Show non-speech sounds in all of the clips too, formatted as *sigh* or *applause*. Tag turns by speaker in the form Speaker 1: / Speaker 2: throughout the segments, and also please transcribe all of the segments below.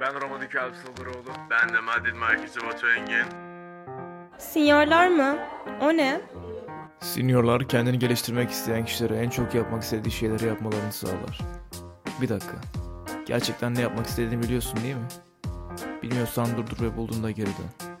Speaker 1: Ben Roma'daki Alp Sıldıroğlu. Ben de Madrid merkezi Batu Engin.
Speaker 2: Sinyaller mı? O ne?
Speaker 3: Seniorlar kendini geliştirmek isteyen kişilere en çok yapmak istediği şeyleri yapmalarını sağlar. Bir dakika. Gerçekten ne yapmak istediğini biliyorsun değil mi? Bilmiyorsan durdur ve bulduğunda geri dön.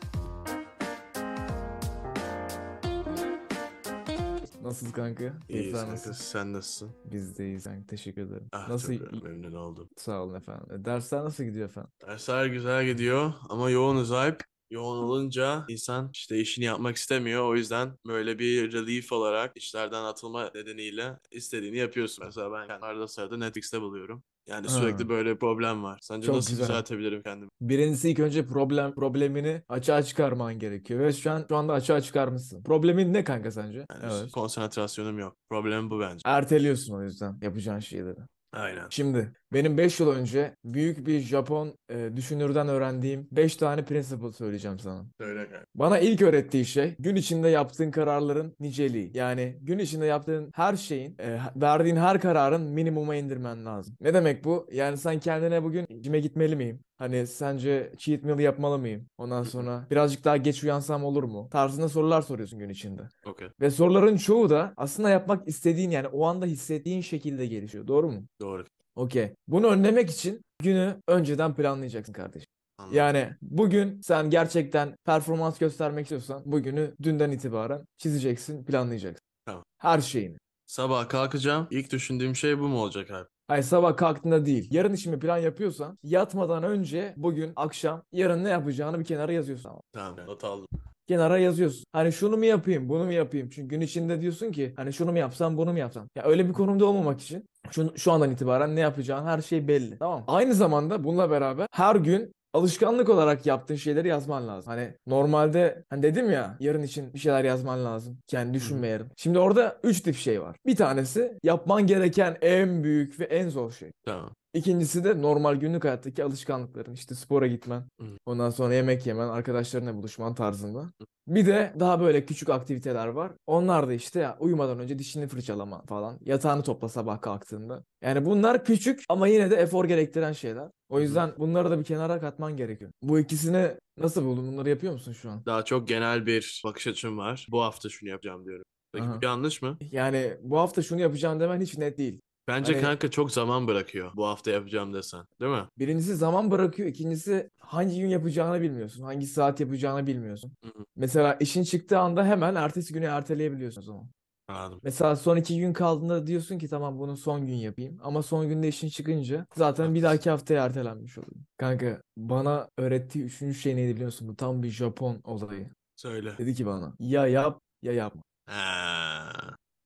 Speaker 3: Nasılsın kanka?
Speaker 1: İyiyiz kanka. Sen nasılsın?
Speaker 3: Biz de iyiyiz kanka. Teşekkür ederim.
Speaker 1: Ah,
Speaker 3: nasıl?
Speaker 1: tabii, memnun oldum.
Speaker 3: Sağ olun efendim. E, Dersler nasıl gidiyor efendim?
Speaker 1: Dersler güzel gidiyor ama yoğunuz Alp. Yoğun olunca insan işte işini yapmak istemiyor. O yüzden böyle bir relief olarak işlerden atılma nedeniyle istediğini yapıyorsun. Mesela ben kendimi arada sırada Netflix'te buluyorum. Yani
Speaker 3: Ha.
Speaker 1: sürekli böyle problem var. Sence
Speaker 3: Çok
Speaker 1: nasıl
Speaker 3: güzel.
Speaker 1: düzeltebilirim kendimi?
Speaker 3: Birincisi ilk önce problem problemini açığa çıkarman gerekiyor ve şu an şu anda açığa çıkarmışsın. Problemin ne kanka sence?
Speaker 1: Yani konsantrasyonum yok. Problem bu bence.
Speaker 3: Erteliyorsun o yüzden yapacağın şeyleri.
Speaker 1: Aynen.
Speaker 3: Şimdi benim 5 yıl önce büyük bir Japon e, düşünürden öğrendiğim 5 tane principle söyleyeceğim sana.
Speaker 1: Söyle kanka.
Speaker 3: Bana ilk öğrettiği şey gün içinde yaptığın kararların niceliği. Yani gün içinde yaptığın her şeyin, e, verdiğin her kararın minimuma indirmen lazım. Ne demek bu? Yani sen kendine bugün gym'e gitmeli miyim? Hani sence cheat meal yapmalı mıyım? Ondan sonra birazcık daha geç uyansam olur mu? Tarzında sorular soruyorsun gün içinde.
Speaker 1: Okey.
Speaker 3: Ve soruların çoğu da aslında yapmak istediğin yani o anda hissettiğin şekilde gelişiyor. Doğru mu?
Speaker 1: Doğru.
Speaker 3: Okey. Bunu önlemek için günü önceden planlayacaksın kardeşim.
Speaker 1: Anladım.
Speaker 3: Yani bugün sen gerçekten performans göstermek istiyorsan bugünü dünden itibaren çizeceksin, planlayacaksın.
Speaker 1: Tamam.
Speaker 3: Her şeyini.
Speaker 1: Sabah kalkacağım. İlk düşündüğüm şey bu mu olacak abi?
Speaker 3: Ay sabah kalktığında değil. Yarın için bir plan yapıyorsan yatmadan önce bugün akşam yarın ne yapacağını bir kenara yazıyorsun.
Speaker 1: Tamam not aldım.
Speaker 3: kenara yazıyorsun. Hani şunu mu yapayım, bunu mu yapayım? Çünkü gün içinde diyorsun ki hani şunu mu yapsam, bunu mu yapsam? Ya öyle bir konumda olmamak için şu, şu andan itibaren ne yapacağın her şey belli. Tamam. mı? Aynı zamanda bununla beraber her gün alışkanlık olarak yaptığın şeyleri yazman lazım. Hani normalde hani dedim ya yarın için bir şeyler yazman lazım. Kendi düşünme yarın. Şimdi orada 3 tip şey var. Bir tanesi yapman gereken en büyük ve en zor şey.
Speaker 1: Tamam.
Speaker 3: İkincisi de normal günlük hayattaki alışkanlıkların. İşte spora gitmen,
Speaker 1: Hı.
Speaker 3: ondan sonra yemek yemen, arkadaşlarınla buluşman tarzında. Bir de daha böyle küçük aktiviteler var. Onlar da işte ya, uyumadan önce dişini fırçalama falan. Yatağını topla sabah kalktığında. Yani bunlar küçük ama yine de efor gerektiren şeyler. O
Speaker 1: Hı.
Speaker 3: yüzden bunları da bir kenara katman gerekiyor. Bu ikisini nasıl buldun? Bunları yapıyor musun şu an?
Speaker 1: Daha çok genel bir bakış açım var. Bu hafta şunu yapacağım diyorum. Peki bu
Speaker 3: Aha.
Speaker 1: yanlış mı?
Speaker 3: Yani bu hafta şunu yapacağım demen hiç net değil.
Speaker 1: Bence
Speaker 3: Hani-
Speaker 1: kanka çok zaman bırakıyor bu hafta yapacağım desen. Değil mi?
Speaker 3: Birincisi zaman bırakıyor, ikincisi hangi gün yapacağını bilmiyorsun, hangi saat yapacağını bilmiyorsun.
Speaker 1: Hı hı.
Speaker 3: Mesela işin çıktığı anda hemen ertesi güne erteleyebiliyorsun o zaman.
Speaker 1: Anladım.
Speaker 3: Mesela son iki gün kaldığında diyorsun ki tamam bunu son gün yapayım. Ama son günde işin çıkınca zaten bir
Speaker 1: Haklısın.
Speaker 3: dahaki haftaya ertelenmiş oluyor. Kanka bana öğrettiği üçüncü şey neydi biliyor musun? Bu tam bir Japon olayı.
Speaker 1: Söyle.
Speaker 3: Dedi ki bana ya yap ya yapma.
Speaker 1: Ha.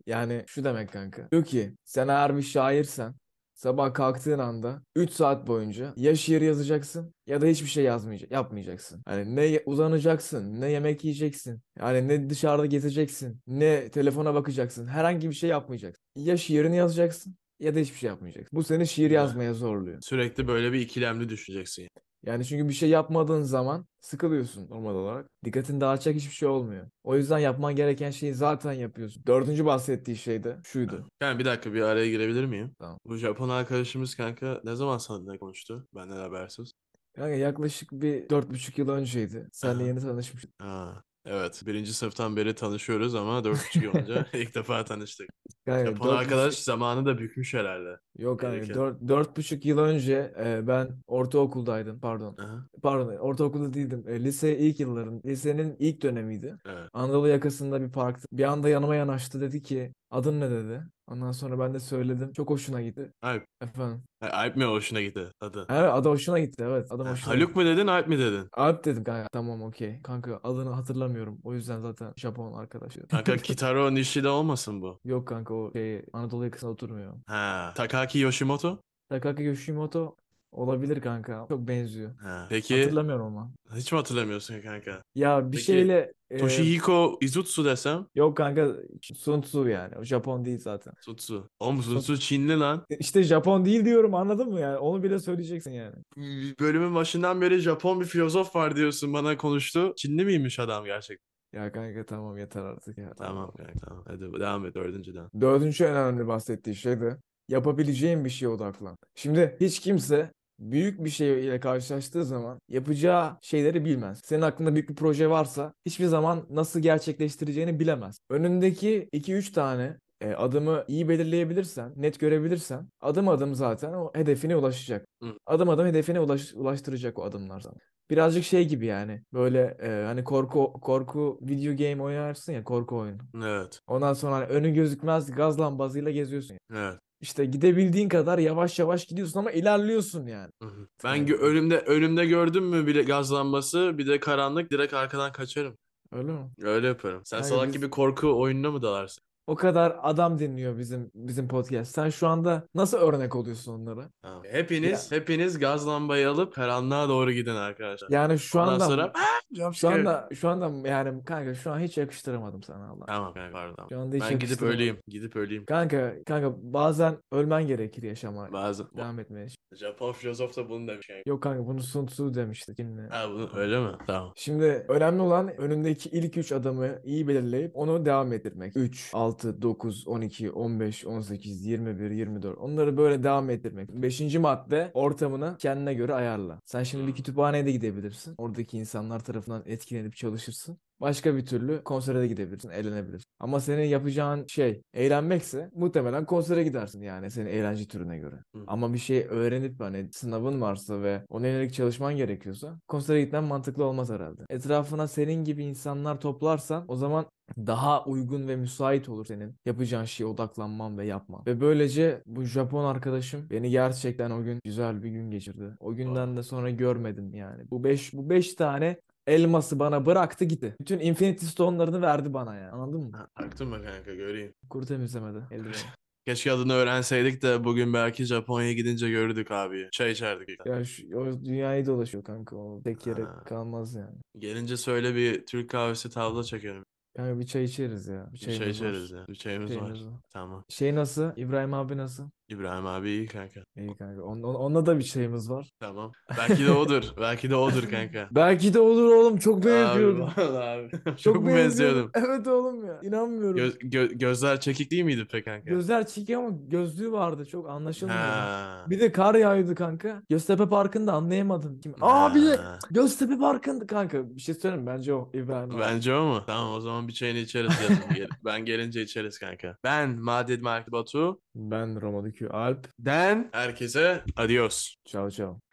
Speaker 3: Yani şu demek kanka. Diyor ki sen eğer bir şairsen sabah kalktığın anda 3 saat boyunca ya şiir yazacaksın ya da hiçbir şey yazmayacak, yapmayacaksın. Hani ne ye- uzanacaksın, ne yemek yiyeceksin, yani ne dışarıda gezeceksin, ne telefona bakacaksın. Herhangi bir şey yapmayacaksın. Ya şiirini yazacaksın ya da hiçbir şey yapmayacaksın. Bu seni şiir
Speaker 1: Güzel.
Speaker 3: yazmaya zorluyor.
Speaker 1: Sürekli böyle bir ikilemli düşüneceksin. yani.
Speaker 3: Yani çünkü bir şey yapmadığın zaman sıkılıyorsun normal olarak. Dikkatini dağıtacak hiçbir şey olmuyor. O yüzden yapman gereken şeyi zaten yapıyorsun. Dördüncü bahsettiği şey de şuydu.
Speaker 1: Yani bir dakika bir araya girebilir miyim?
Speaker 3: Tamam.
Speaker 1: Bu Japon arkadaşımız kanka ne zaman seninle konuştu? Benden habersiz.
Speaker 3: Kanka yaklaşık bir dört buçuk yıl önceydi. Seninle
Speaker 1: Aha.
Speaker 3: yeni tanışmıştık.
Speaker 1: Ha. Evet. Birinci sınıftan beri tanışıyoruz ama 4,5 yıl
Speaker 3: *laughs*
Speaker 1: önce ilk defa tanıştık.
Speaker 3: Kanka
Speaker 1: Japon
Speaker 3: dört
Speaker 1: arkadaş
Speaker 3: buçuk-
Speaker 1: zamanı da bükmüş herhalde.
Speaker 3: Yok kanka
Speaker 1: Tehlike.
Speaker 3: dört, dört buçuk yıl önce e, ben ortaokuldaydım pardon.
Speaker 1: Aha.
Speaker 3: Pardon ortaokulda değildim. E, lise ilk yılların, lisenin ilk dönemiydi.
Speaker 1: Evet.
Speaker 3: Anadolu yakasında bir parkta. Bir anda yanıma yanaştı dedi ki adın ne dedi. Ondan sonra ben de söyledim. Çok hoşuna gitti.
Speaker 1: Alp.
Speaker 3: Efendim.
Speaker 1: Alp mi hoşuna gitti adı?
Speaker 3: Evet adam hoşuna gitti evet. Adam
Speaker 1: Ha,
Speaker 3: hoşuna
Speaker 1: Haluk
Speaker 3: gitti.
Speaker 1: mu dedin, Alp mi dedin?
Speaker 3: Alp dedim kanka. Tamam okey. Kanka adını hatırlamıyorum. O yüzden zaten Japon arkadaş. diyorum.
Speaker 1: Kanka *laughs* Kitaro Nishida olmasın bu?
Speaker 3: Yok kanka o şey Anadolu yakasında oturmuyor.
Speaker 1: Ha, Takaki Yoshimoto?
Speaker 3: Takaki Yoshimoto olabilir kanka. Çok benziyor.
Speaker 1: Ha. Peki
Speaker 3: Hatırlamıyorum ama.
Speaker 1: hiç mi hatırlamıyorsun kanka?
Speaker 3: Ya bir
Speaker 1: Peki,
Speaker 3: şeyle
Speaker 1: Ee,
Speaker 3: e,
Speaker 1: Toshihiko Izutsu desem?
Speaker 3: yok kanka Sun Tzu yani. O Japon değil zaten.
Speaker 1: Tutsu. Oğlum Tutsu Çinli lan.
Speaker 3: İşte Japon değil diyorum anladın mı yani? Onu bile söyleyeceksin yani.
Speaker 1: Bölümün başından beri Japon bir filozof var diyorsun bana konuştu. Çinli miymiş adam gerçekten?
Speaker 3: Ya kanka tamam yeter artık ya.
Speaker 1: Tamam kanka tamam. Hadi devam et dördüncüden.
Speaker 3: Dördüncü en önemli bahsettiği şey de yapabileceğin bir şeye odaklan. Şimdi hiç kimse büyük bir şeyle karşılaştığı zaman yapacağı şeyleri bilmez. Senin aklında büyük bir proje varsa hiçbir zaman nasıl gerçekleştireceğini bilemez. Önündeki 2-3 tane e, adımı iyi belirleyebilirsen, net görebilirsen adım adım zaten o hedefine ulaşacak.
Speaker 1: Hı.
Speaker 3: Adım adım hedefine ulaş- ulaştıracak o adımlar sana. Birazcık şey gibi yani böyle e, hani korku korku video game oynarsın ya korku oyunu.
Speaker 1: Evet.
Speaker 3: Ondan sonra hani önü gözükmez gaz lambasıyla geziyorsun.
Speaker 1: Evet.
Speaker 3: İşte gidebildiğin kadar yavaş yavaş gidiyorsun ama ilerliyorsun yani.
Speaker 1: Hı hı. Ben gö- önümde önümde gördüm mü bile gaz lambası bir de karanlık direkt arkadan kaçarım.
Speaker 3: Öyle mi?
Speaker 1: Öyle yaparım. Sen
Speaker 3: Kanka
Speaker 1: salak
Speaker 3: biz-
Speaker 1: gibi korku oyununa mı dalarsın?
Speaker 3: O kadar adam dinliyor bizim bizim podcast. Sen şu anda nasıl örnek oluyorsun onlara?
Speaker 1: Ha. Hepiniz hepiniz gaz lambayı alıp karanlığa doğru gidin arkadaşlar.
Speaker 3: Yani şu
Speaker 1: Ondan
Speaker 3: anda
Speaker 1: sonra Ah!
Speaker 3: şu anda şu anda yani kanka şu an hiç yakıştıramadım sana Allah.
Speaker 1: Tamam kanka pardon.
Speaker 3: Şu anda hiç
Speaker 1: Ben gidip
Speaker 3: yakıştıramadım.
Speaker 1: öleyim. Gidip öleyim.
Speaker 3: Kanka kanka bazen ölmen gerekir yaşama
Speaker 1: Bazen
Speaker 3: devam etmeye.
Speaker 1: Japon filozof da bunu demiş. yani.
Speaker 3: Yok kanka bunu Sun Tzu demişti. Bilmiyorum.
Speaker 1: Ha, bunu- öyle mi? Tamam.
Speaker 3: Şimdi önemli olan önündeki ilk 3 adımı iyi belirleyip onu devam ettirmek. 3, 6, 9, 12, 15, 18, 21, 24. Onları böyle devam ettirmek. Beşinci madde ortamını kendine göre ayarla. Sen şimdi bir kütüphaneye de gidebilirsin. Oradaki insanlar tarafından etkilenip çalışırsın. Başka bir türlü konsere de gidebilirsin, eğlenebilirsin. Ama senin yapacağın şey eğlenmekse muhtemelen konsere gidersin yani senin eğlence türüne göre.
Speaker 1: Hı.
Speaker 3: Ama bir şey öğrenip hani sınavın varsa ve ona yönelik çalışman gerekiyorsa konsere gitmen mantıklı olmaz herhalde. Etrafına senin gibi insanlar toplarsan o zaman daha uygun ve müsait olur senin yapacağın şeye odaklanman ve yapman. Ve böylece bu Japon arkadaşım beni gerçekten o gün güzel bir gün geçirdi. O günden de sonra görmedim yani. Bu 5 bu 5 tane elması bana bıraktı gitti. Bütün Infinity Stone'larını verdi bana ya. Anladın mı?
Speaker 1: Ha, Baktın mı kanka göreyim.
Speaker 3: Kuru temizlemedi. Eldiven.
Speaker 1: Keşke adını öğrenseydik de bugün belki Japonya'ya gidince görürdük abi. Çay içerdik.
Speaker 3: Ya şu, o dünyayı dolaşıyor kanka. O tek yere
Speaker 1: Ha.
Speaker 3: kalmaz yani.
Speaker 1: Gelince söyle bir Türk kahvesi tavla çekelim.
Speaker 3: Kanka bir çay içeriz ya. Bir
Speaker 1: Bir çay
Speaker 3: çayımız var.
Speaker 1: içeriz ya. Bir çayımız var.
Speaker 3: Çayımız var.
Speaker 1: Tamam.
Speaker 3: Şey nasıl? İbrahim abi nasıl?
Speaker 1: İbrahim abi iyi kanka.
Speaker 3: İyi kanka. On, on- onunla da bir şeyimiz var.
Speaker 1: Tamam. Belki de odur. Belki de odur kanka.
Speaker 3: Belki de olur oğlum. Çok
Speaker 1: Abi,
Speaker 3: benziyordu.
Speaker 1: vallahi abi. *laughs* Çok,
Speaker 3: *laughs* Çok
Speaker 1: mu
Speaker 3: benziyordum.
Speaker 1: benziyordum.
Speaker 3: *laughs* Evet oğlum ya. İnanmıyorum.
Speaker 1: Göz- gö- gözler çekik değil miydi pek kanka?
Speaker 3: Gözler çirkin ama gözlüğü vardı. Çok anlaşılmıyor.
Speaker 1: Ha.
Speaker 3: Bir de kar yağıyordu kanka. Göztepe Parkı'nda anlayamadım. Kim? Abi!
Speaker 1: Ha.
Speaker 3: Göztepe Parkı'nda kanka. Bir şey söyleyeyim mi? Bence o İbrahim abi.
Speaker 1: Bence o mu? Tamam o zaman bir çayını içeriz
Speaker 3: *laughs*
Speaker 1: yazın. Gel- ben gelince içeriz kanka. Ben Madid Mark Batu.
Speaker 3: Ben Roma'daki Alp.
Speaker 1: Den herkese adios.
Speaker 3: Ciao ciao.